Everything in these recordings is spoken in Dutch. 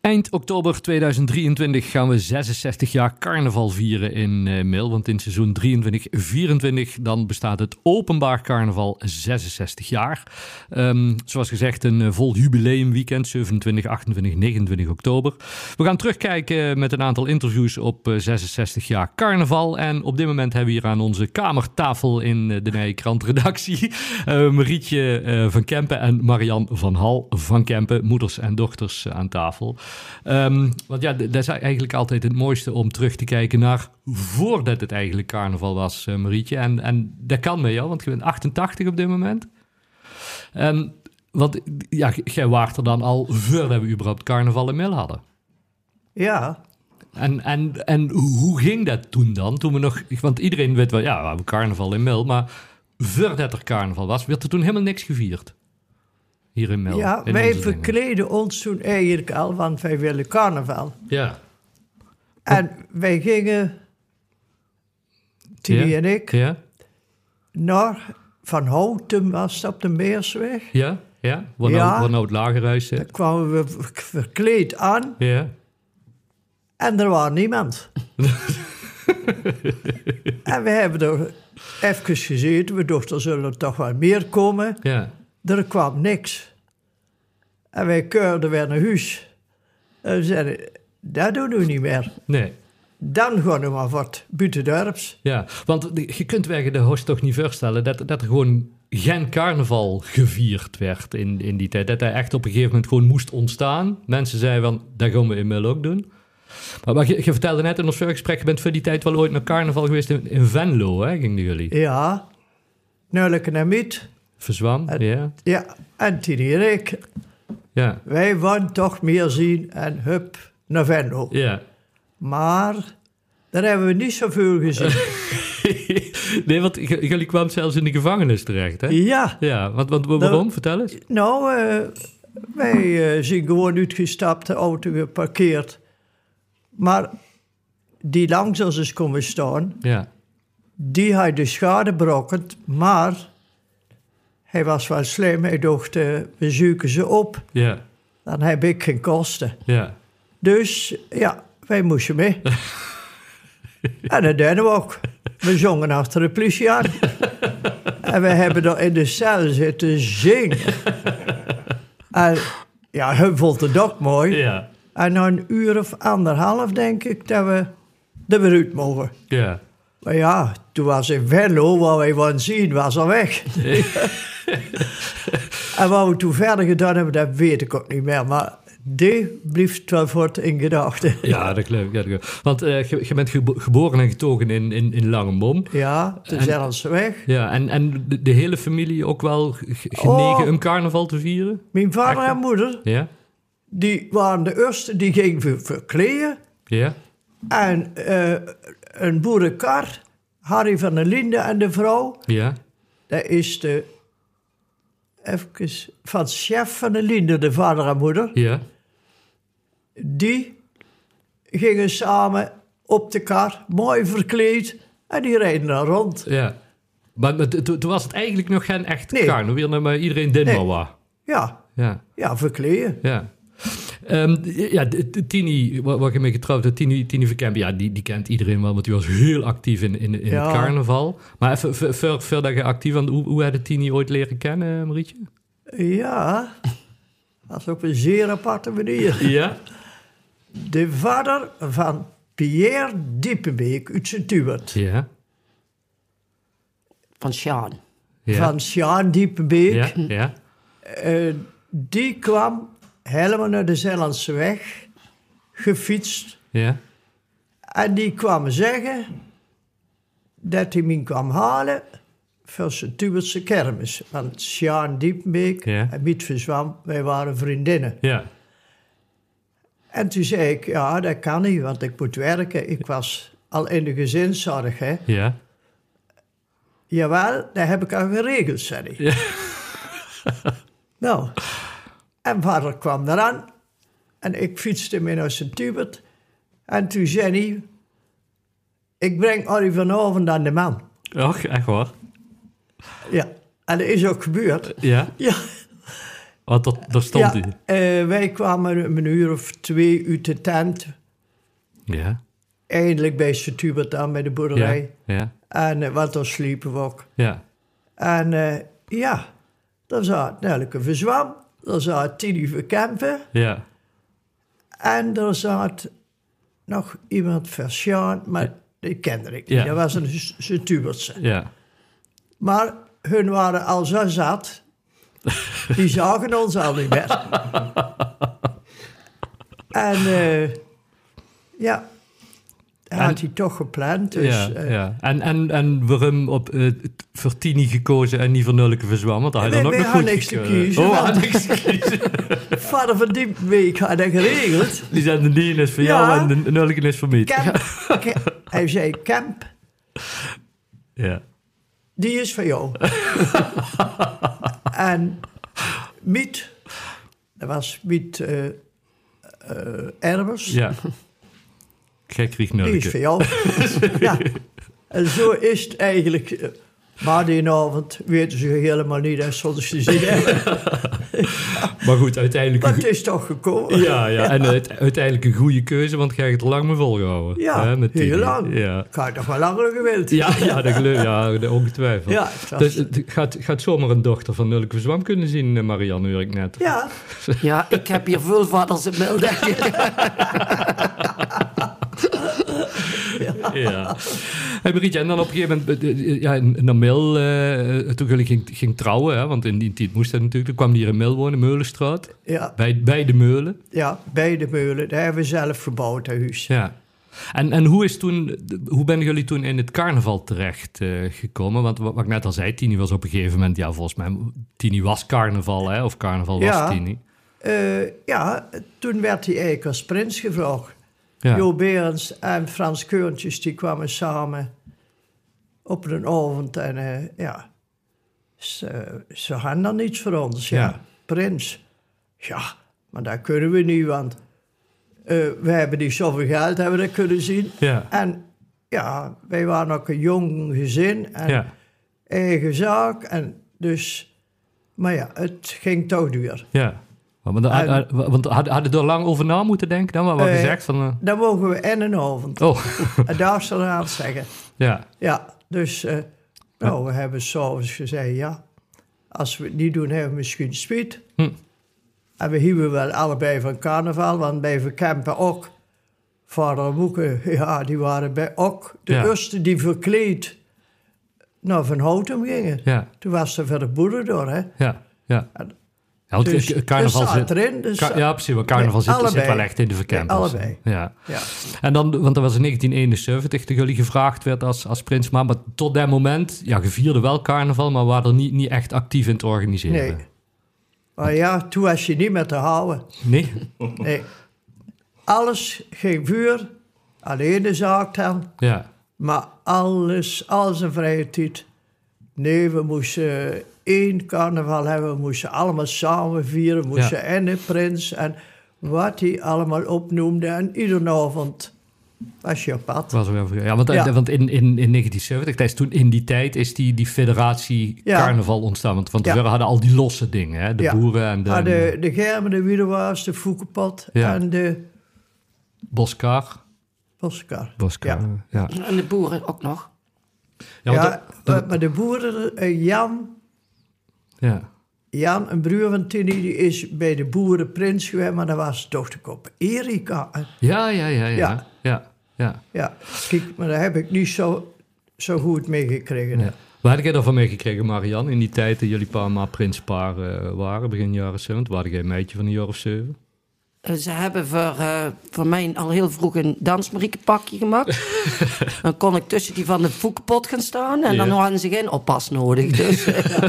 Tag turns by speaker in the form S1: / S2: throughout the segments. S1: Eind oktober 2023 gaan we 66 jaar carnaval vieren in eh Mil. Want in seizoen 23-24 dan bestaat het openbaar carnaval 66 jaar. Ehm, zoals gezegd een eh, vol jubileumweekend 27, 28, 29 oktober. We gaan terugkijken met een aantal interviews op eh, 66 jaar carnaval. En op dit moment hebben we hier aan onze kamertafel in eh, de Nije Krant redactie eh, Marietje eh, van Kempen en Marian van Hal van Kempen, moeders en dochters eh, aan tafel. Ehm, want ja, d- dat is eigenlijk altijd het mooiste om terug te kijken naar voordat het eigenlijk carnaval was, eh, Marietje. En, en dat kan mee, jou, want je bent 88 op dit moment. En, want ja, g- jij waart er dan al voordat we überhaupt carnaval in Mil hadden.
S2: Ja,
S1: En, en, en hoe ging dat toen dan? Toen we nog, want iedereen weet wel, ja, we hebben carnaval in Mel, maar voordat er carnaval was, werd er toen helemaal niks gevierd. Hier in Mel.
S2: ja
S1: Oh, in
S2: wij
S1: onze dingen.
S2: verkleden ons toen eigenlijk al, want wij willen carnaval.
S1: Ja,
S2: En wij gingen, Tilly
S1: Ja.
S2: en ik,
S1: ja,
S2: naar Van Houten was dat op de Meersweg.
S1: ja, ja. Waar nou-
S2: Ja.
S1: waar nou het lagerhuis
S2: Daar
S1: zit.
S2: kwamen we ver- verkleed aan
S1: Ja,
S2: en er was niemand. en we hebben er even gezeten, we dachten er zullen toch wel meer komen.
S1: ja.
S2: Er kwam niks. En wij keurden weer naar huis. En we zeiden, dat doen we niet meer.
S1: Nee,
S2: Dan gaan we maar wat Butendorps.
S1: ja. Want de- je kunt je de host toch niet voorstellen dat, dat er gewoon geen carnaval gevierd werd in, in die tijd. Dat hij echt op een gegeven moment gewoon moest ontstaan. Mensen zeiden van, dat gaan we in Mel ook doen. Maar, maar je, je vertelde net in ons voorgesprek, je bent voor die tijd wel ooit naar carnaval geweest in, in Venlo, hè, gingen jullie?
S2: Ja. Nulleke en Miet.
S1: Verzwam, ja.
S2: Ja. En Tini en ik.
S1: Ja,
S2: Wij wouden toch meer zien en hup, naar Venlo.
S1: ja.
S2: Maar daar hebben we niet zoveel gezien.
S1: nee, want j- jullie kwamen zelfs in de gevangenis terecht, hè?
S2: ja.
S1: Ja, want, want waarom? Vertel eens.
S2: Nou, eh, wij eh, zijn gewoon uitgestapt, de auto geparkeerd. Maar die langs ons is komen staan,
S1: Ja,
S2: die had de schade brokkend, maar hij was wel slim. Hij dacht, eh, we zoeken ze op,
S1: ja,
S2: dan heb ik geen kosten.
S1: ja.
S2: Dus ja, wij moesten mee. en dat deden we ook. We zongen achter de politie aan. en we hebben daar in de cel zitten zingen. en ja, hun vond het ook mooi.
S1: Ja,
S2: En na een uur of anderhalf denk ik dat we de beruut mogen.
S1: ja.
S2: Maar Nou ja, toen was in Venlo, waar wij wouden zien, was al weg. en wat we toen verder gedaan hebben, dat weet ik ook niet meer. Maar die blijft wel voort in gedachten.
S1: Ja, dat geloof ik. Ja, dat geloof ik. Want eh, je, je bent gebo- geboren en getogen in, in, in Langenbom.
S2: Ja, de
S1: En-
S2: zelfs weg.
S1: Ja, en, en de, de hele familie ook wel ge- genegen
S2: Oh.
S1: een carnaval te vieren?
S2: Mijn vader
S1: Echt?
S2: en moeder,
S1: Ja,
S2: die waren de eerste, die gingen ver- verkleden.
S1: ja,
S2: En eh, een boerenkar, Harry van der Linde en de vrouw,
S1: ja,
S2: dat is de, even, van chef van der Linde, de vader en moeder.
S1: ja,
S2: die gingen samen op de kar, mooi verkleed, en die reden daar rond.
S1: ja. Maar maar toen toen was het eigenlijk nog geen echt
S2: Nee.
S1: carnaval. Weer naar maar iedereen Dinmawa.
S2: Ja,
S1: Ja,
S2: ja, verkleden.
S1: ja. Ehm, ja, de- de Tini, waar, waar je mee getrouwd bent, Tini, Tini Verkemp, ja, die, die kent iedereen wel, want die was heel actief in, in, in
S2: Ja.
S1: het carnaval. Maar even ver- ver- verder je actief, want hoe, hoe had je Tini ooit leren kennen, Marietje?
S2: Ja, dat is op een zeer aparte manier.
S1: Ja,
S2: De vader van Pierre Diepenbeek uit Sint-Tuwert.
S1: ja,
S3: van Sjaan.
S1: ja.
S2: Van Sjaan Diepenbeek.
S1: Ja, ja,
S2: Eh, die kwam helemaal naar de Zeelandse weg, gefietst.
S1: ja,
S2: En die kwam zeggen dat hij me kwam halen voor zijn Tubertse kermis. Want Sjaan Diepenbeek
S1: Ja.
S2: en Miet Verzwam, wij waren vriendinnen.
S1: ja,
S2: En toen zei ik, ja, dat kan niet, want ik moet werken. Ik was al in de gezinszorg, hè.
S1: ja.
S2: Jawel, dat heb ik al geregeld, zei hij.
S1: Ja.
S2: nou, en vader kwam eraan en ik fietste mee naar zijn Tubert. En toen zei hij, ik breng Arie vanavond aan de man.
S1: Och, echt waar.
S2: Ja, en dat is ook gebeurd.
S1: Ja,
S2: Ja,
S1: want dat, daar stond hij.
S2: ja. eh, wij kwamen om een uur of twee uit de tent.
S1: Ja,
S2: Eindelijk bij Setubert aan bij de boerderij.
S1: ja, ja,
S2: En eh, want dan sliepen we ook.
S1: ja.
S2: En eh, ja, daar zat Nelke Verzwam. Daar zat Tini Verkempen.
S1: ja.
S2: En daar zat nog iemand van Sjaan, maar die kende ik niet.
S1: Ja.
S2: Dat was een S- Setubertse.
S1: Ja,
S2: Maar hun waren al zo zat, die zagen ons al niet meer. en eh, ja, dat had hij toch gepland. Dus,
S1: ja,
S2: eh,
S1: ja. En, en, en waarom op eh voor Tini gekozen en niet voor Nulke verzwam? Want daar had je
S2: Nee,
S1: dan ook
S2: nee,
S1: nog
S2: had
S1: goed
S2: niks te
S1: gekozen.
S2: kiezen,
S1: Oh,
S2: want-
S1: had niks te kiezen.
S2: Vader van die week had dat geregeld.
S1: Die zijn de Dien is voor
S2: Ja.
S1: jou en de Nulke is voor mij.
S2: Camp, Ke- hij zei, Camp,
S1: Ja.
S2: die is van jou. en Miet, dat was Miet eh eh, Erbers,
S1: Ja. Gek kreeg
S2: die is
S1: Nulke.
S2: van jou. ja. En zo is het eigenlijk. eh, Maar die avond weten ze helemaal niet, dat zonder ze zien. hebben.
S1: Maar goed, uiteindelijk...
S2: Maar het is toch gekomen.
S1: Ja, ja. En het, uiteindelijk een goede keuze, want jij hebt er lang mee volgehouden.
S2: Ja,
S1: Hè, met Tini.
S2: heel lang.
S1: Ja.
S2: Ik had nog wel langer gewild.
S1: Ja, ja, dat geloof, ja dat ongetwijfeld.
S2: Ja, het was-
S1: dus het gaat, gaat zomaar een dochter van Nulke Verzwam kunnen zien, eh, Marianne, hoor ik net.
S2: ja.
S3: Ja, ik heb hier veel vaders in melden.
S1: Ja. Hey, Marietje, en dan op een gegeven moment, eh, eh, ja, in- in de Mil, eh, toen jullie ging, ging trouwen, hè, want in die tijd moest dat natuurlijk, toen kwam die hier in Mil wonen, Meulenstraat,
S2: Ja,
S1: bij, bij de Meulen.
S2: ja, bij de meulen. Daar hebben we zelf gebouwd, dat huis.
S1: Ja. En, en hoe, is toen, hoe ben jullie toen in het carnaval terecht eh, gekomen? Want wat, wat ik net al zei, Tini was op een gegeven moment, ja, volgens mij, Tini was carnaval, hè, of carnaval was
S2: Ja.
S1: Tini.
S2: Eh, ja, toen werd hij eigenlijk als prins gevraagd.
S1: Ja.
S2: Jo Berends en Frans Keurntjes die kwamen samen op een avond. En eh, ja, ze, ze hadden dan iets voor ons. Ja.
S1: Ja.
S2: prins. Ja, maar dat kunnen we niet, want eh, we hebben niet zoveel geld, hebben we dat kunnen zien.
S1: Ja.
S2: En ja, wij waren ook een jong gezin en
S1: Ja.
S2: eigen zaak. En dus, maar ja, het ging toch duur.
S1: Ja. Want, dan-
S2: En-
S1: eh, want had- hadden we er lang over na moeten denken dan? Maar wat
S2: Eh,
S1: gezegd van... eh,
S2: Dan mogen we en een avond.
S1: oh,
S2: En daar zal aan zeggen.
S1: ja.
S2: Ja, dus eh, nou, we hebben s'avonds gezegd, ja, als we het niet doen, hebben we misschien spijt.
S1: Hm.
S2: En we hielden wel allebei van carnaval, want bij Verkempen ook. Vader en Moeke, ja, die waren bij ook de
S1: Ja.
S2: eerste die verkleed naar Van Houtem gingen.
S1: Ja,
S2: Toen was er verder boeren door, hè.
S1: ja, ja. Ja, want
S2: Dus
S1: eh, carnaval
S2: dat
S1: zit...
S2: staat erin. Dus,
S1: ka- ja, precies. Want carnaval
S2: Nee,
S1: zit, zit
S2: allebei.
S1: wel echt in de
S2: Nee,
S1: verkempers.
S2: allebei.
S1: ja.
S2: eh, ja.
S1: En dan, want dat was in 1971 dat jullie gevraagd werd als, als prins. Maar, maar tot dat moment, ja, je vierde wel carnaval, maar waren er niet, niet echt actief in te organiseren.
S2: Nee. Maar ja, toen was je niet meer te houden.
S1: Nee?
S2: Nee. Alles, geen vuur, alleen de zaak dan.
S1: Ja,
S2: Maar alles, al zijn vrije tijd. Nee, we moesten eh, één carnaval hebben. We moesten allemaal samen vieren. We moesten
S1: Ja.
S2: en de prins en wat hij allemaal opnoemde. En iedere avond was je op pad.
S1: was er wel voor- ja, want, eh,
S2: Ja.
S1: want in, in, in 1970, tijdens toen in die tijd, is die, die federatie
S2: Ja.
S1: carnaval ontstaan. Want van
S2: Ja.
S1: tevoren hadden al die losse dingen, hè? de
S2: Ja.
S1: boeren en de,
S2: Maar de, de germen, de wielerwaars, de foekenpot
S1: Ja.
S2: en de
S1: boskar.
S2: boskar.
S1: Boskar, ja. ja.
S3: En de boeren ook nog.
S1: Ja, want
S2: ja,
S1: dat-
S2: maar- maar de boeren, eh, Jan,
S1: ja.
S2: Jan, een broer van Tini, die is bij de boerenprins geweest, maar dat was dochterkop Erika.
S1: Ja, ja, ja, ja. Ja,
S2: Ja.
S1: ja.
S2: Ja, kijk, maar daar heb ik niet zo, zo goed mee gekregen.
S1: Ja. Waar had jij daarvan meegekregen, Marian, in die tijd dat jullie pa en ma prinspaar eh, waren, begin jaren 70? Waar had jij een meidje van een jaar of zeven?
S3: Eh, Ze hebben voor, eh, voor mij al heel vroeg een dansmariekenpakje gemaakt. dan kon ik tussen die van de voekpot gaan staan. En dan
S1: Ja.
S3: hadden ze geen oppas nodig. Dus eh,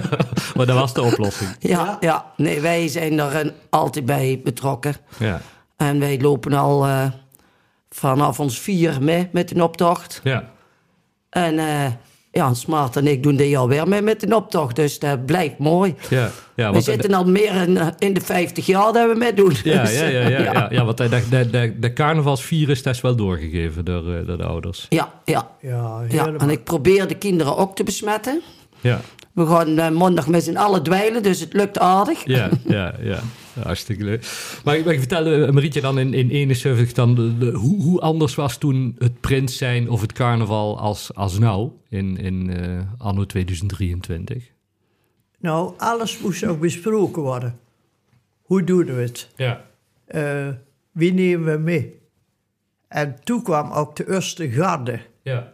S1: Maar dat was de oplossing.
S3: ja, ja, nee, wij zijn er eh, altijd bij betrokken.
S1: Ja,
S3: En wij lopen al eh, vanaf ons vier mee met een optocht.
S1: ja,
S3: En eh, Ja, Smart en ik doen dit jaar weer mee met een optocht. Dus dat blijft mooi.
S1: Ja, ja,
S3: we
S1: Ah, want-
S3: zitten al meer in, eh, in de 50 jaar dat we meedoen.
S1: Ja,
S3: Dus,
S1: ja, ja, ja, ja. ja want dat, dat, dat, dat carnavalsvirus dat is wel doorgegeven door, eh, door de ouders.
S3: ja, ja.
S2: Ja,
S3: Ja,
S2: helemaal.
S3: en ik probeer de kinderen ook te besmetten.
S1: Ja,
S3: We gaan eh, maandag met z'n allen dweilen, dus het lukt aardig.
S1: ja, ja, ja. Ja, Hartstikke leuk. Maar ik, maar ik vertelde eh, Marietje dan in, in 71 dan de- de- hoe, hoe anders was toen het prins zijn of het carnaval als, als nou in, in eh, anno 2023.
S2: Nou, alles moest ook besproken worden. Hoe doen we het?
S1: Ja.
S2: Eh, wie nemen we mee? En toen kwam ook de eerste garde.
S1: Ja.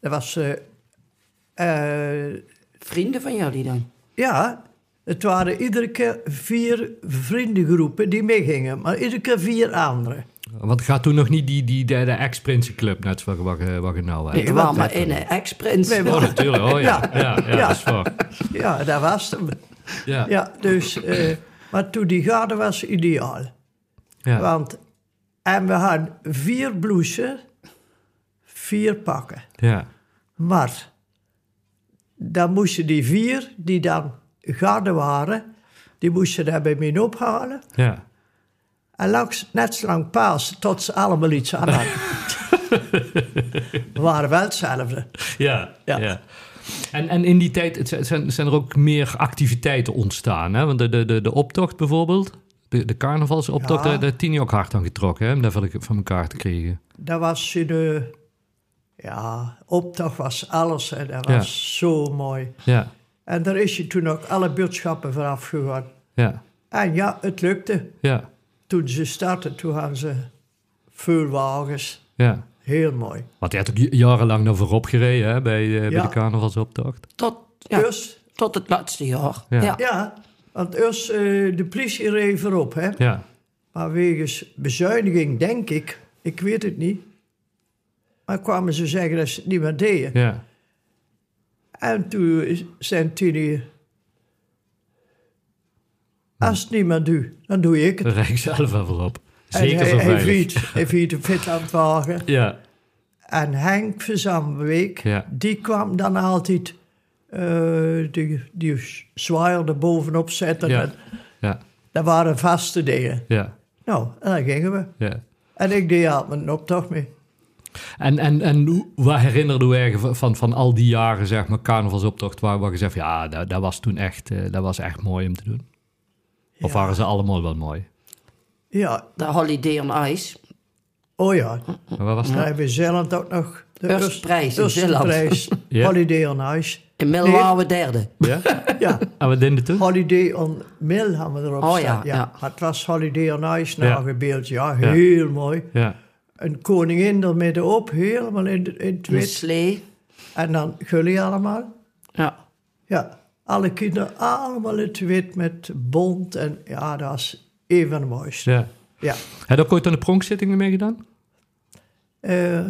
S2: Dat was... eh, eh,
S3: Vrienden van jullie dan?
S2: ja, het waren iedere keer vier vriendengroepen die meegingen. Maar iedere keer vier anderen.
S1: Want gaat toen nog niet die, die, de, de ex-prinsenclub, net zoals wat, je- wat je nou hebt?
S3: Ik
S2: wat
S3: was maar
S2: dat
S3: in een ex-prins.
S2: Nee,
S1: Oh, natuurlijk. Oh ja. Ja, ja,
S2: Ja. Ja.
S1: dat is waar.
S2: Ja, dat was hem.
S1: Ja.
S2: Ja, dus... eh, maar toen die garde was ideaal.
S1: Ja.
S2: Want, en we hadden vier blouses, vier pakken.
S1: Ja.
S2: Maar dan moesten die vier die dan garde waren, die moesten daar bij mij ophalen.
S1: Ja.
S2: En langs, net zo lang paas tot ze allemaal iets aan hadden. we waren wel hetzelfde.
S1: Ja, ja.
S2: Ja.
S1: En, en in die tijd het zijn- zijn, zijn er ook meer activiteiten ontstaan. Hè? Want de, de, de, de optocht bijvoorbeeld, de, de carnavalsoptocht,
S2: Ja.
S1: daar, daar heeft Tini ook hard aan getrokken. Hè? Om dat van, van elkaar te krijgen.
S2: Dat was in de... Ja, optocht was alles en dat
S1: Ja.
S2: was zo mooi.
S1: Ja,
S2: En daar is je toen ook alle buurtschappen vanaf gegaan.
S1: ja,
S2: En ja, het lukte.
S1: ja,
S2: Toen ze startten, toen hadden ze veel wagens.
S1: ja.
S2: Heel mooi.
S1: Want hij had ook j- jarenlang naar voorop gereden hè? Bij, eh, bij
S2: Ja.
S1: de carnavalsoptocht.
S3: Tot, ja,
S2: Dus
S3: tot het laatste jaar.
S1: Ja.
S3: Ja.
S2: Ja, want eerst eh, de politie reed voorop, hè.
S1: Ja,
S2: Maar wegens bezuiniging, denk ik, ik weet het niet. Maar kwamen ze zeggen dat ze het niet meer deden.
S1: ja,
S2: En toen is- zijn toen Als het niet meer doet, dan doe ik het.
S1: de Rijk zelf wel voorop.
S2: en
S1: Zeker
S2: hij,
S1: zo
S2: hij
S1: veilig.
S2: viert, hij viert een fit aan het wagen.
S1: Ja,
S2: En Henk van Zandbeek,
S1: Ja.
S2: die kwam dan altijd... eh, die, die zwaaier er bovenop zetten.
S1: Ja.
S2: En
S1: ja,
S2: Dat waren vaste dingen.
S1: ja,
S2: Nou, en dan gingen we.
S1: ja.
S2: En ik deed altijd mijn optocht mee.
S1: En, en, en hoe- wat herinnerde u eigenlijk van, van, van al die jaren, zeg maar, carnavalsoptocht, waar, waar je zegt, ja, dat, dat was toen echt, eh, dat was echt mooi om te doen? Of
S2: Ja.
S1: waren ze allemaal wel mooi?
S2: Ja,
S3: De Holiday on Ice.
S2: oh ja.
S1: Maar Wat was
S2: Dan
S1: dat?
S2: hebben we Zeeland ook nog. De
S3: Eerste
S2: eerst-
S3: prijs in
S2: eerste
S3: Zeeland.
S2: prijs.
S1: Ja.
S2: Holiday on Ice.
S3: In Mil
S2: Nee.
S3: waren we derde.
S1: Ja?
S2: Ja,
S1: En wat deden toen?
S2: Holiday on Mill hebben we erop
S3: Oh ja,
S2: staan.
S3: ja.
S2: Maar het was Holiday on Ice
S1: Ja.
S2: nagebeeld. Ja,
S1: Ja.
S2: heel mooi.
S1: Ja,
S2: Een koningin er middenop, helemaal in, de- in het
S3: De
S2: wit.
S3: slee.
S2: En dan jullie allemaal.
S3: Ja.
S2: Ja, alle kinderen allemaal in het wit met bont. En ja, dat was een van de mooiste.
S1: ja.
S2: Ja.
S1: Heb je ook ooit aan de pronkzittingen meegedaan?
S2: Eh,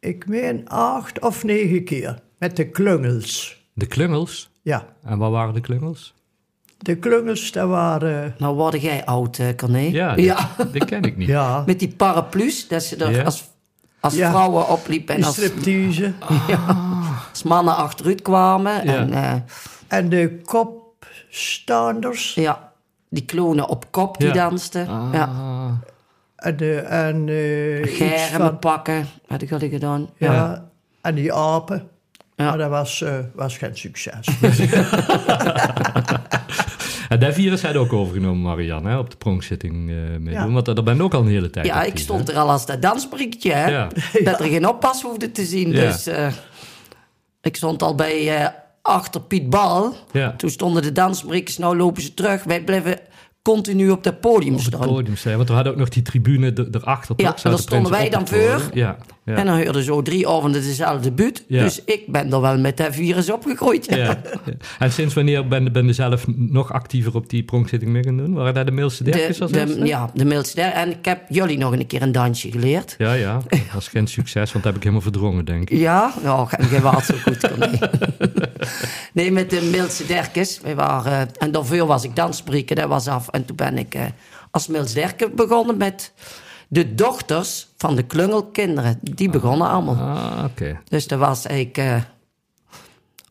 S2: ik meen acht of negen keer met de klungels.
S1: De klungels.
S2: Ja,
S1: En waar waren de klungels?
S2: de klungels, dat waren...
S3: Nou word jij oud, eh Corné.
S1: Ja, die,
S3: ja.
S1: die ken ik niet.
S2: Ja,
S3: Met die paraplu's, dat ze er
S1: Ja.
S3: als, als
S2: Ja.
S3: vrouwen opliepen en
S2: de
S3: als,
S2: striptease
S3: als mannen achteruit kwamen.
S1: Ja.
S3: En eh,
S2: en de kopstaanders
S3: ja, die klonen op kop die
S1: Ja.
S3: dansten. Ja.
S1: Ah,
S2: en, de, en eh, iets
S3: Germen
S2: van...
S3: pakken, wat ik had ik gedaan.
S2: Ja,
S1: Ja.
S2: en die apen.
S3: Ja.
S2: Maar dat was, eh, was geen succes.
S1: En dat virus had ook overgenomen, Marianne, hè, op de pronkzitting eh meedoen.
S2: Ja.
S1: Want daar ben je ook al een hele tijd
S3: Ja,
S1: actief,
S3: ik stond
S1: hè?
S3: er al als dat dansprikketje, hè?
S1: Ja.
S2: Ja.
S3: Dat er geen oppas hoefde te zien.
S1: Ja.
S3: Dus eh, ik stond al bij eh, achter Piet Bal.
S1: Ja.
S3: Toen stonden de dansprikkers, nou lopen ze terug. Wij bleven continu op dat podium
S1: Op het
S3: staan.
S1: podium staan. Want we hadden ook nog die tribune d- erachter.
S3: Ja,
S1: toch? Zaten
S3: en daar
S1: prins
S3: stonden wij
S1: op
S3: dan
S1: het podium.
S3: voor.
S1: Ja, ja.
S3: En dan hoorden zo drie avonden dezelfde buurt.
S1: Ja.
S3: Dus ik ben er wel met dat virus opgegroeid.
S1: Ja, ja. En sinds wanneer ben, ben je zelf nog actiever op die pronkzitting mee gaan doen? Waren daar de mailste
S3: De,
S1: dertjes als
S3: de-
S1: eerste?
S3: ja, de middelste der. En ik heb jullie nog een keer een dansje geleerd.
S1: Ja, ja. Dat was geen succes, want dat heb ik helemaal verdrongen, denk ik.
S3: Ja, nou, en jij was zo goed. Corné. nee, met de Milse Derkes. Wij waren, eh, en daarvoor was ik dansspreken, dat was af. En toen ben ik eh, als Mils Derkes begonnen met de dochters van de klungelkinderen. Die begonnen allemaal.
S1: Ah, oké.
S3: Dus dat was ik eh,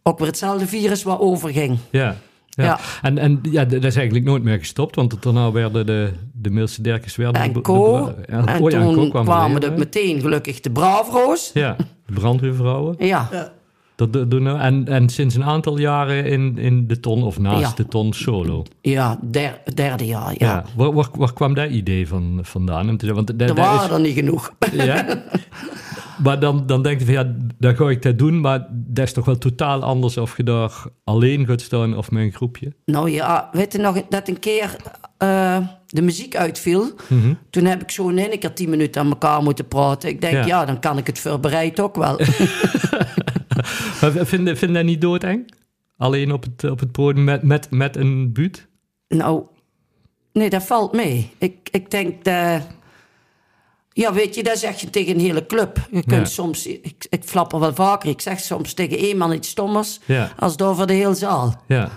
S3: ook weer hetzelfde virus wat overging.
S1: Ja. Ja.
S3: Ja.
S1: En, en ja, d- dat is eigenlijk nooit meer gestopt, want daarna werden de, de Milse Derkers... Werden de-
S3: En
S1: de-
S3: Co.
S1: de- ja,
S3: en
S1: oh ja,
S3: toen
S1: Co kwam
S3: kwamen
S1: erin,
S3: er
S1: hè?
S3: meteen gelukkig de Braafroos.
S1: Ja, de brandweervrouwen.
S3: Ja.
S1: Dat do- doen we. En, en sinds een aantal jaren in, in de ton of naast
S3: Ja.
S1: de ton solo.
S3: Ja, der- derde jaar. Ja.
S1: Ja. Waar, waar, waar kwam dat idee van, vandaan? Om te zeggen, Want dat-
S3: er
S1: dat
S3: waren
S1: is-
S3: er niet genoeg.
S1: Ja. Maar dan, dan denk je van ja, dan ga ik dat doen, maar dat is toch wel totaal anders of je daar alleen gaat staan of met een groepje.
S3: Nou ja, weet je nog dat een keer eh, de muziek uitviel?
S1: Mhm.
S3: Toen heb ik zo'n in een keer tien minuten aan elkaar moeten praten. Ik denk,
S1: Ja.
S3: ja, dan kan ik het voorbereid ook wel.
S1: Maar v- vind, je- vind je dat niet doodeng? Alleen op het, op het podium met, met, met een buut?
S3: nou, nee, dat valt mee. Ik, ik denk dat... Ja, weet je, dat zeg je tegen een hele club. Je kunt
S1: Ja.
S3: soms... Ik, ik flap er wel vaker. Ik zeg soms tegen één man iets stommers...
S1: Ja.
S3: als door voor de hele zaal.
S1: Ja.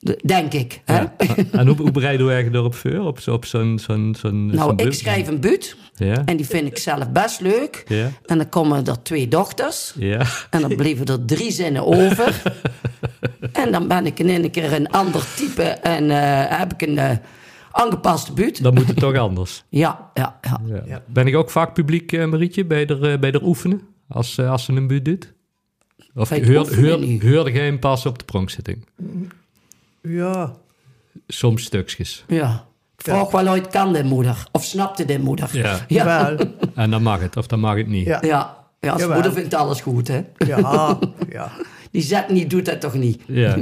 S3: De- Denk ik. Hè?
S1: ja. En hoe, hoe bereid je je erop voor? Op, zo- op zo'n zo'n zo'n
S3: Nou,
S1: zo'n
S3: ik
S1: buut?
S3: schrijf een buut.
S1: Ja.
S3: En die vind ik zelf best leuk.
S1: Ja.
S3: En dan komen er twee dochters.
S1: Ja.
S3: En dan bleven er drie zinnen over. en dan ben ik in één keer een ander type. En eh, heb ik een eh, aangepaste buurt.
S1: Dan moet het toch anders.
S3: Ja, ja, ja.
S1: Ja.
S2: Ja.
S1: Ben ik ook vaak publiek, eh, Marietje, bij de, eh, bij de oefenen? Als, eh, als ze een buurt doet? Of
S3: Bij het
S1: heur,
S3: oefenen
S1: heur,
S3: niet.
S1: heurde jij hem pas op de pronkzitting?
S2: Ja.
S1: Soms stukjes.
S3: ja. Ik vroeg wel ooit, kan dit moeder? Of snapte dit moeder?
S1: Ja.
S3: ja.
S2: Wel,
S1: En dan mag het, of dan mag het niet.
S2: Ja.
S3: ja. Ja, als
S2: Jawel.
S3: moeder vindt alles goed, hè.
S2: ja, ja.
S3: Die zet niet, doet dat toch niet.
S1: Ja.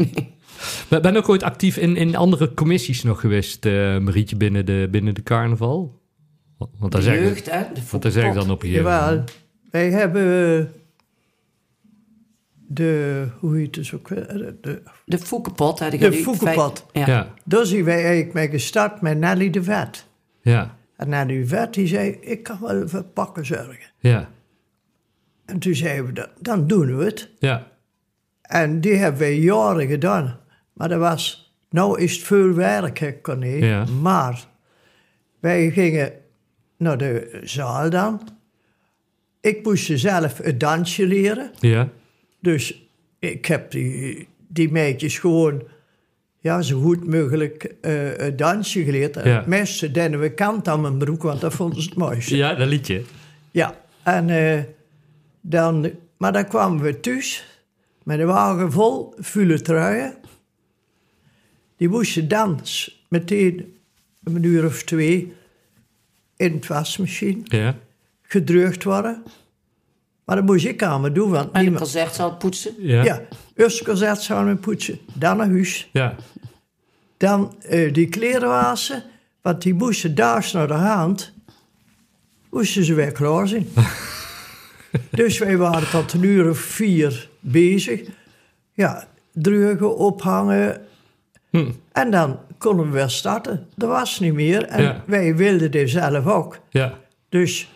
S1: Maar ben ook ooit actief in, in andere commissies nog geweest, eh, Marietje, binnen de, binnen de carnaval? Want daar
S3: De
S1: zeg
S3: jeugd,
S1: ik,
S3: hè. De
S1: want daar zeg ik dan
S3: voetpot.
S1: op een gegeven moment.
S2: Jawel. Wij hebben eh, de, hoe heet het ook, weer? Eh, de,
S3: De foekenpot. hè, die
S2: De
S3: gaat nu-
S2: foekenpot.
S3: Ja.
S1: Ja,
S2: daar zijn wij eigenlijk mee gestart met Nelly de Vet.
S1: ja,
S2: En Nelly de Vet die zei, ik kan wel voor pakken zorgen.
S1: ja,
S2: En toen zeiden we, "Dan- dan doen we het.
S1: ja,
S2: En die hebben wij jaren gedaan. Maar dat was, nou is het veel werk, hè, Corné.
S1: Ja.
S2: Maar wij gingen naar de zaal dan. Ik moest zelf het dansje leren.
S1: ja,
S2: Dus ik heb die, die meidjes gewoon ja, zo goed mogelijk eh, het dansje geleerd. En
S1: Ja.
S2: Het meeste deden we kant aan mijn broek, want dat vonden ze het mooiste. Ja,
S1: ja, dat liedje.
S2: en eh, dan... Maar dan kwamen we thuis met een wagen vol vuile truien. Die moesten dans meteen een uur of twee in het wasmachine
S1: Ja,
S2: gedroogd worden. Maar dat moest ik aan me doen, want
S3: En de
S2: niemand...
S3: concertzaal poetsen.
S1: ja, ja,
S2: Ja, eerst kozet samen poetsen, dan naar huis.
S1: ja,
S2: Dan eh, die kleren wassen, want die moesten daags naar de hand. Moesten ze weer klaar zijn. dus wij waren tot een uur of vier bezig. Ja, drugen, ophangen.
S1: Hm.
S2: En dan konden we weer starten. Dat was niet meer. En
S1: Ja.
S2: wij wilden dit zelf ook.
S1: ja.
S2: Dus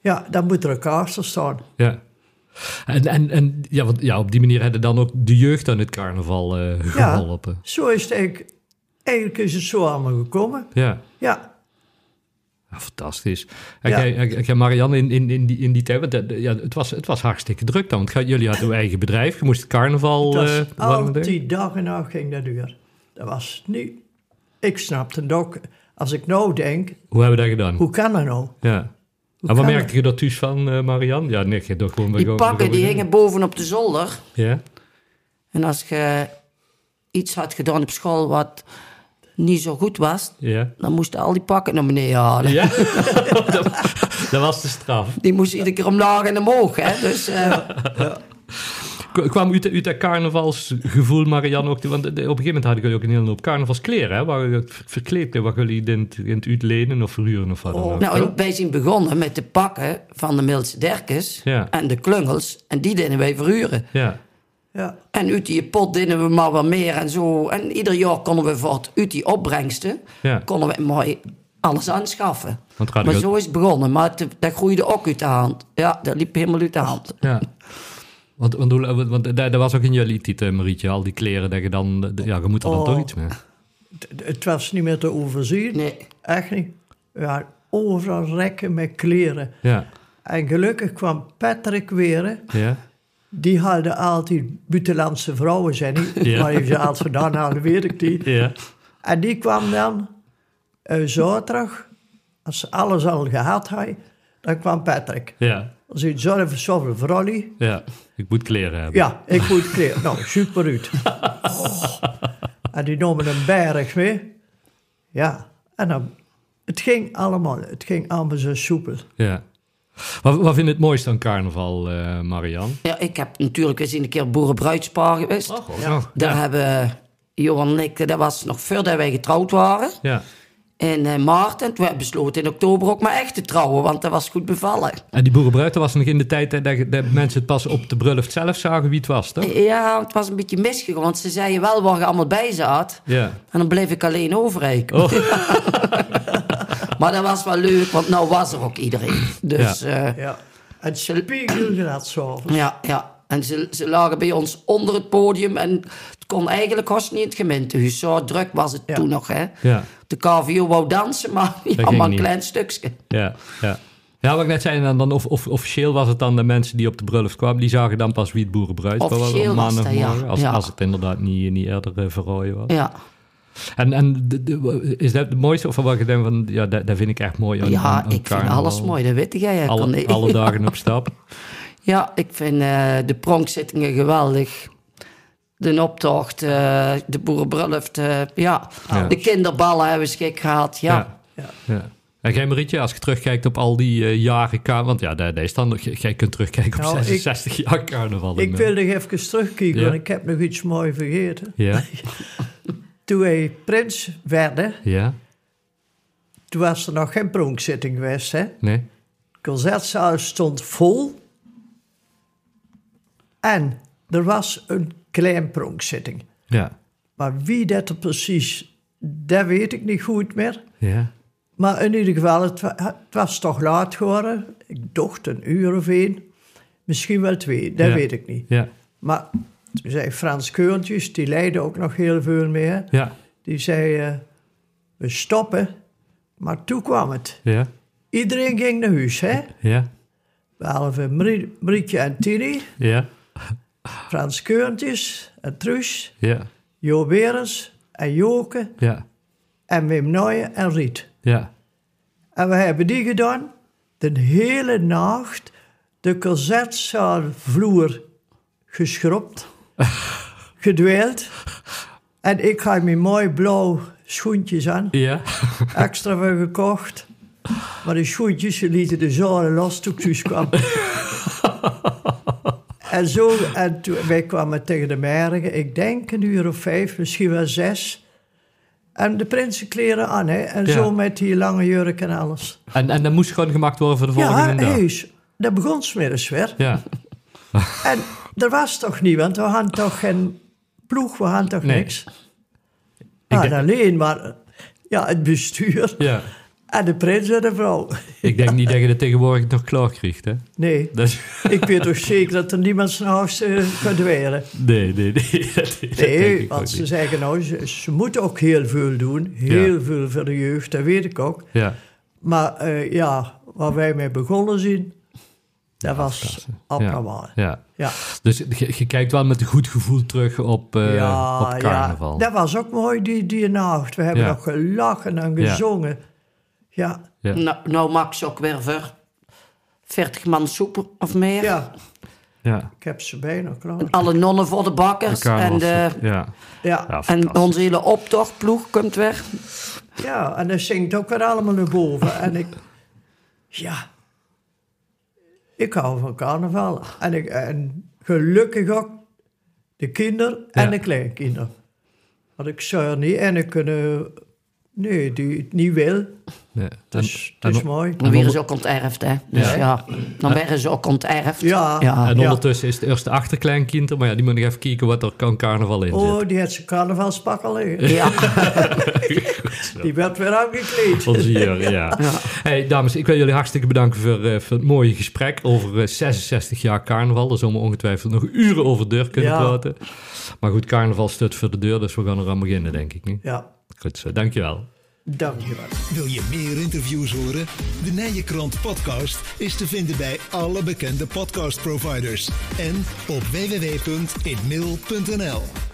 S2: ja, dan moet er een kaart staan.
S1: En, en, en ja, want, ja, op die manier hadden dan ook de jeugd aan het carnaval eh, geholpen.
S2: Zo is het eigenlijk, eigenlijk is het zo allemaal gekomen.
S1: Ja.
S2: Ja,
S1: Ja, Fantastisch. En
S2: Ja.
S1: jij- en- en jij, Marianne, in, in, in, die, in die tijd, want dat- ja, het, was, het was hartstikke druk dan. Want gij- jullie hadden uw eigen bedrijf, je moest het carnaval...
S2: dat
S1: eh,
S2: was oh,
S1: warm doen.
S2: altijd dag en nacht ging dat duur. Dat was niet... Ik snapte het ook. Als ik nou denk,
S1: Hoe hebben we dat gedaan?
S2: hoe kan dat nou?
S1: Ja. En wat
S2: kan
S1: merkte je dat thuis van, eh Marianne? Ja, nee, je hebt toch gewoon...
S3: Die
S1: gewoon-
S3: pakken
S1: gewoon-
S3: die hingen boven op de zolder.
S1: Ja?
S3: En als je iets had gedaan op school wat niet zo goed was,
S1: Ja?
S3: dan moesten al die pakken naar beneden halen.
S1: Ja? dat, dat was de straf.
S3: Die moesten iedere keer omlaag en omhoog. Hè? Dus, eh,
S1: K- kwam uit, uit dat carnavalsgevoel, Marianne, ook... Want de- op een gegeven moment hadden jullie ook een hele hoop carnavalskleren, hè? Waar je verkleed wat jullie in het, in het uit lenen of verhuren of wat dan ook.
S3: nou, wij zijn begonnen met de pakken van de Milse Derkes
S1: Ja.
S3: en de klungels. En die deden wij verhuren.
S1: Ja.
S2: Ja,
S3: En uit die pot deden we maar wat meer en zo. En ieder jaar konden we voor het, uit die opbrengsten
S1: Ja.
S3: konden we mooi alles aanschaffen.
S1: Want
S3: maar
S1: Radio-
S3: zo is het begonnen. Maar het, dat groeide ook uit de hand. Ja, dat liep helemaal uit de hand.
S1: Ja. Want, want, hoe- want, want daar, daar was ook in jullie titel, Marietje, al die kleren dat je dan... de- Ja, je moet er dan
S2: Oh.
S1: toch iets mee.
S2: het, het was niet meer te overzien.
S3: Nee.
S2: Echt niet. Ja, overal rekken met kleren.
S1: Ja,
S2: En gelukkig kwam Patrick weer.
S1: ja,
S2: die hadden altijd buitenlandse vrouwen, zijn die.
S1: Ja.
S2: Waar je ze altijd vandaan halen, weet ik niet.
S1: Ja.
S2: En die kwam dan eh zaterdag, als ze alles al gehad had, dan kwam Patrick.
S1: Ja.
S2: Als je zorg voor zoveel vrolijk.
S1: Ja. Ik moet kleren hebben.
S2: Ja, ik moet kleren. Nou, super uit. Oh. En die namen een berg mee. Ja, en dan, het ging allemaal, het ging allemaal zo soepel.
S1: Ja. Wat, wat vind je het mooiste aan carnaval, eh Marian?
S3: Ja, ik heb natuurlijk eens een keer boerenbruidspaar geweest.
S1: Oh. ja.
S3: Daar hebben Johan en ik, dat was nog voordat wij getrouwd waren.
S1: ja.
S3: In eh, maart. En toen hebben we besloten in oktober ook maar echt te trouwen, want dat was goed bevallen.
S1: En die boerenbruid, dat was nog in de tijd hè, dat, je- dat mensen het pas op de bruiloft zelf zagen wie het was, toch?
S3: Ja, het was een beetje misgegaan, want ze zeiden wel waar je allemaal bij zat.
S1: Ja.
S3: En dan bleef ik alleen over eigenlijk.
S1: Oh.
S3: Maar dat was wel leuk, want nou was er ook iedereen. Dus
S1: Ja.
S3: eh,
S2: Ja. En spiegelde dat zo.
S3: Ja, ja. En ze, ze lagen bij ons onder het podium. En het kon eigenlijk haast niet in het gemeentehuis. Zo druk was het
S2: Ja.
S3: toen nog, hè.
S1: Ja.
S3: De KVO wou dansen, maar ja,
S1: ging
S3: maar een
S1: niet.
S3: klein stukje.
S1: Ja, ja. Ja, wat ik net zei, dan, dan of, of, officieel was het dan de mensen die op de bruiloft kwamen, die zagen dan pas wie het boerenbruid
S3: Officieel was dat, ja.
S1: morgen, als,
S3: Ja.
S1: als het inderdaad niet, niet eerder eh, verrooien was.
S3: Ja,
S1: En, en de- de- is dat het mooiste of wat je denkt van, ja, dat, dat vind ik echt mooi aan aan-
S3: ja
S1: aan
S3: ik vind
S1: carnaval?
S3: alles mooi, dat weet jij. hè, Corné.
S1: Alle, alle dagen op stap.
S3: Ja, ik vind eh, de pronkzittingen geweldig. De optocht, eh, de boerenbruiloft, eh, ja.
S1: Ja.
S3: De kinderballen hebben we schik gehad, ja.
S1: ja.
S2: Ja.
S1: ja. En jij, Marietje, als je terugkijkt op al die eh, jaren carnaval... Want ja, daar, daar is dan... nog- j- Jij kunt terugkijken op
S2: Nou, ik-
S1: 66 jaar carnaval. in,
S2: Ik
S1: eh,
S2: wil nog even terugkijken,
S1: Ja.
S2: want ik heb nog iets moois vergeten.
S1: Ja,
S2: Toen wij prins werden,
S1: ja,
S2: toen was er nog geen pronkzitting geweest. Hè?
S1: nee.
S2: De concertzaal stond vol. En er was een klein pronkzitting.
S1: Ja,
S2: Maar wie dat er precies, dat weet ik niet goed meer.
S1: ja,
S2: Maar in ieder geval, het, wa- het was toch laat geworden. Ik dacht een uur of één. Misschien wel twee, dat
S1: Ja.
S2: weet ik niet.
S1: ja,
S2: Maar toen zei Frans Keurtjes, die leidde ook nog heel veel mee. hè.
S1: ja,
S2: Die zei, eh, we stoppen. Maar toen kwam het.
S1: ja,
S2: Iedereen ging naar huis, hè?
S1: ja,
S2: Behalve Marie- Marietje en Tini,
S1: ja,
S2: Frans Keurtjes en Truus,
S1: ja,
S2: Jo Berens en Joke
S1: ja,
S2: en Wim Nooyen en Riet.
S1: ja.
S2: En we hebben die gedaan. De hele nacht de concertzaalvloer geschropt, gedweeld. En ik had mijn mooi blauw schoentjes aan,
S1: Ja,
S2: extra voor gekocht. Maar die schoentjes die lieten dus de zalen los toen ik thuis kwam. en zo, en toen, wij kwamen tegen de mergen, ik denk een uur of vijf, misschien wel zes. En de prinsenkleren aan, hè. En
S1: Ja.
S2: zo met die lange jurk en alles.
S1: en, en dat moest gewoon gemaakt worden voor de
S2: Ja,
S1: volgende dag.
S2: heus. Dat begon smiddags weer.
S1: Ja,
S2: En er was toch niet, want we hadden toch geen ploeg, we hadden toch
S1: Nee.
S2: niks. Ah,
S1: denk-
S2: alleen maar ja, het bestuur
S1: ja.
S2: en de prins en de vrouw.
S1: Ik denk niet dat je dat tegenwoordig nog klaar krijgt, hè?
S2: Nee,
S1: Dat is-
S2: ik weet toch zeker dat er niemand zijn huis eh, kan dweren.
S1: nee, nee, nee. dat- dat denk
S2: Nee,
S1: ik ook
S2: want ze
S1: niet.
S2: zeggen nou, ze, ze moeten ook heel veel doen. Heel
S1: Ja.
S2: veel voor de jeugd, dat weet ik ook.
S1: Ja,
S2: Maar eh, ja, waar wij mee begonnen zijn, dat was abnormaal.
S1: ja, ja.
S2: ja.
S1: Dus je, je kijkt wel met een goed gevoel terug op, eh, op carnaval.
S2: dat was ook mooi, die, die nacht. We hebben
S1: Ja.
S2: nog gelachen en
S1: Ja.
S2: gezongen. Ja,
S1: Ja.
S3: Nou, nou Max ook weer voor 40 man soep of meer.
S2: ja.
S1: Ja.
S2: ik heb ze bijna klaar.
S3: Alle nonnen voor de bakkers. en de,
S2: eh,
S1: ja.
S2: Ja, ja.
S1: ja
S3: En onze hele optochtploeg komt weg.
S2: en dat zingt ook weer allemaal naar boven. En ik, ja, ik hou van carnaval. En, ik, en gelukkig ook de kinderen en
S1: Ja.
S2: de kleinkinderen. Want ik zou er niet en ik kunnen, nee, die het niet wil.
S1: Ja. En-
S2: Dus
S1: en-
S2: het is mooi.
S3: En weer is ook onterfd, hè. Dus
S1: Ja.
S3: ja, dan werden ze ook onterfd.
S2: Ja.
S1: En
S2: Ja.
S1: ondertussen is het eerste achterkleinkind, er, maar ja, die moet nog even kijken wat er kan carnaval in zit.
S2: Oh, die heeft zijn carnavalspak al liggen.
S3: Ja.
S2: Die werd weer aangekleed.
S1: Onze Jur, ja. Hey, dames, ik wil jullie hartstikke bedanken voor, eh, voor het mooie gesprek over eh, 66 jaar carnaval. Daar zullen we ongetwijfeld nog uren over deur kunnen
S2: Ja.
S1: praten. Maar goed, carnaval stut voor de deur, dus we gaan er aan beginnen, denk ik. Hè?
S2: Ja,
S1: Goed zo, dankjewel.
S2: Dankjewel.
S4: Wil je meer interviews horen? De Nijenkrant podcast is te vinden bij alle bekende podcastproviders en op www.inmail.nl.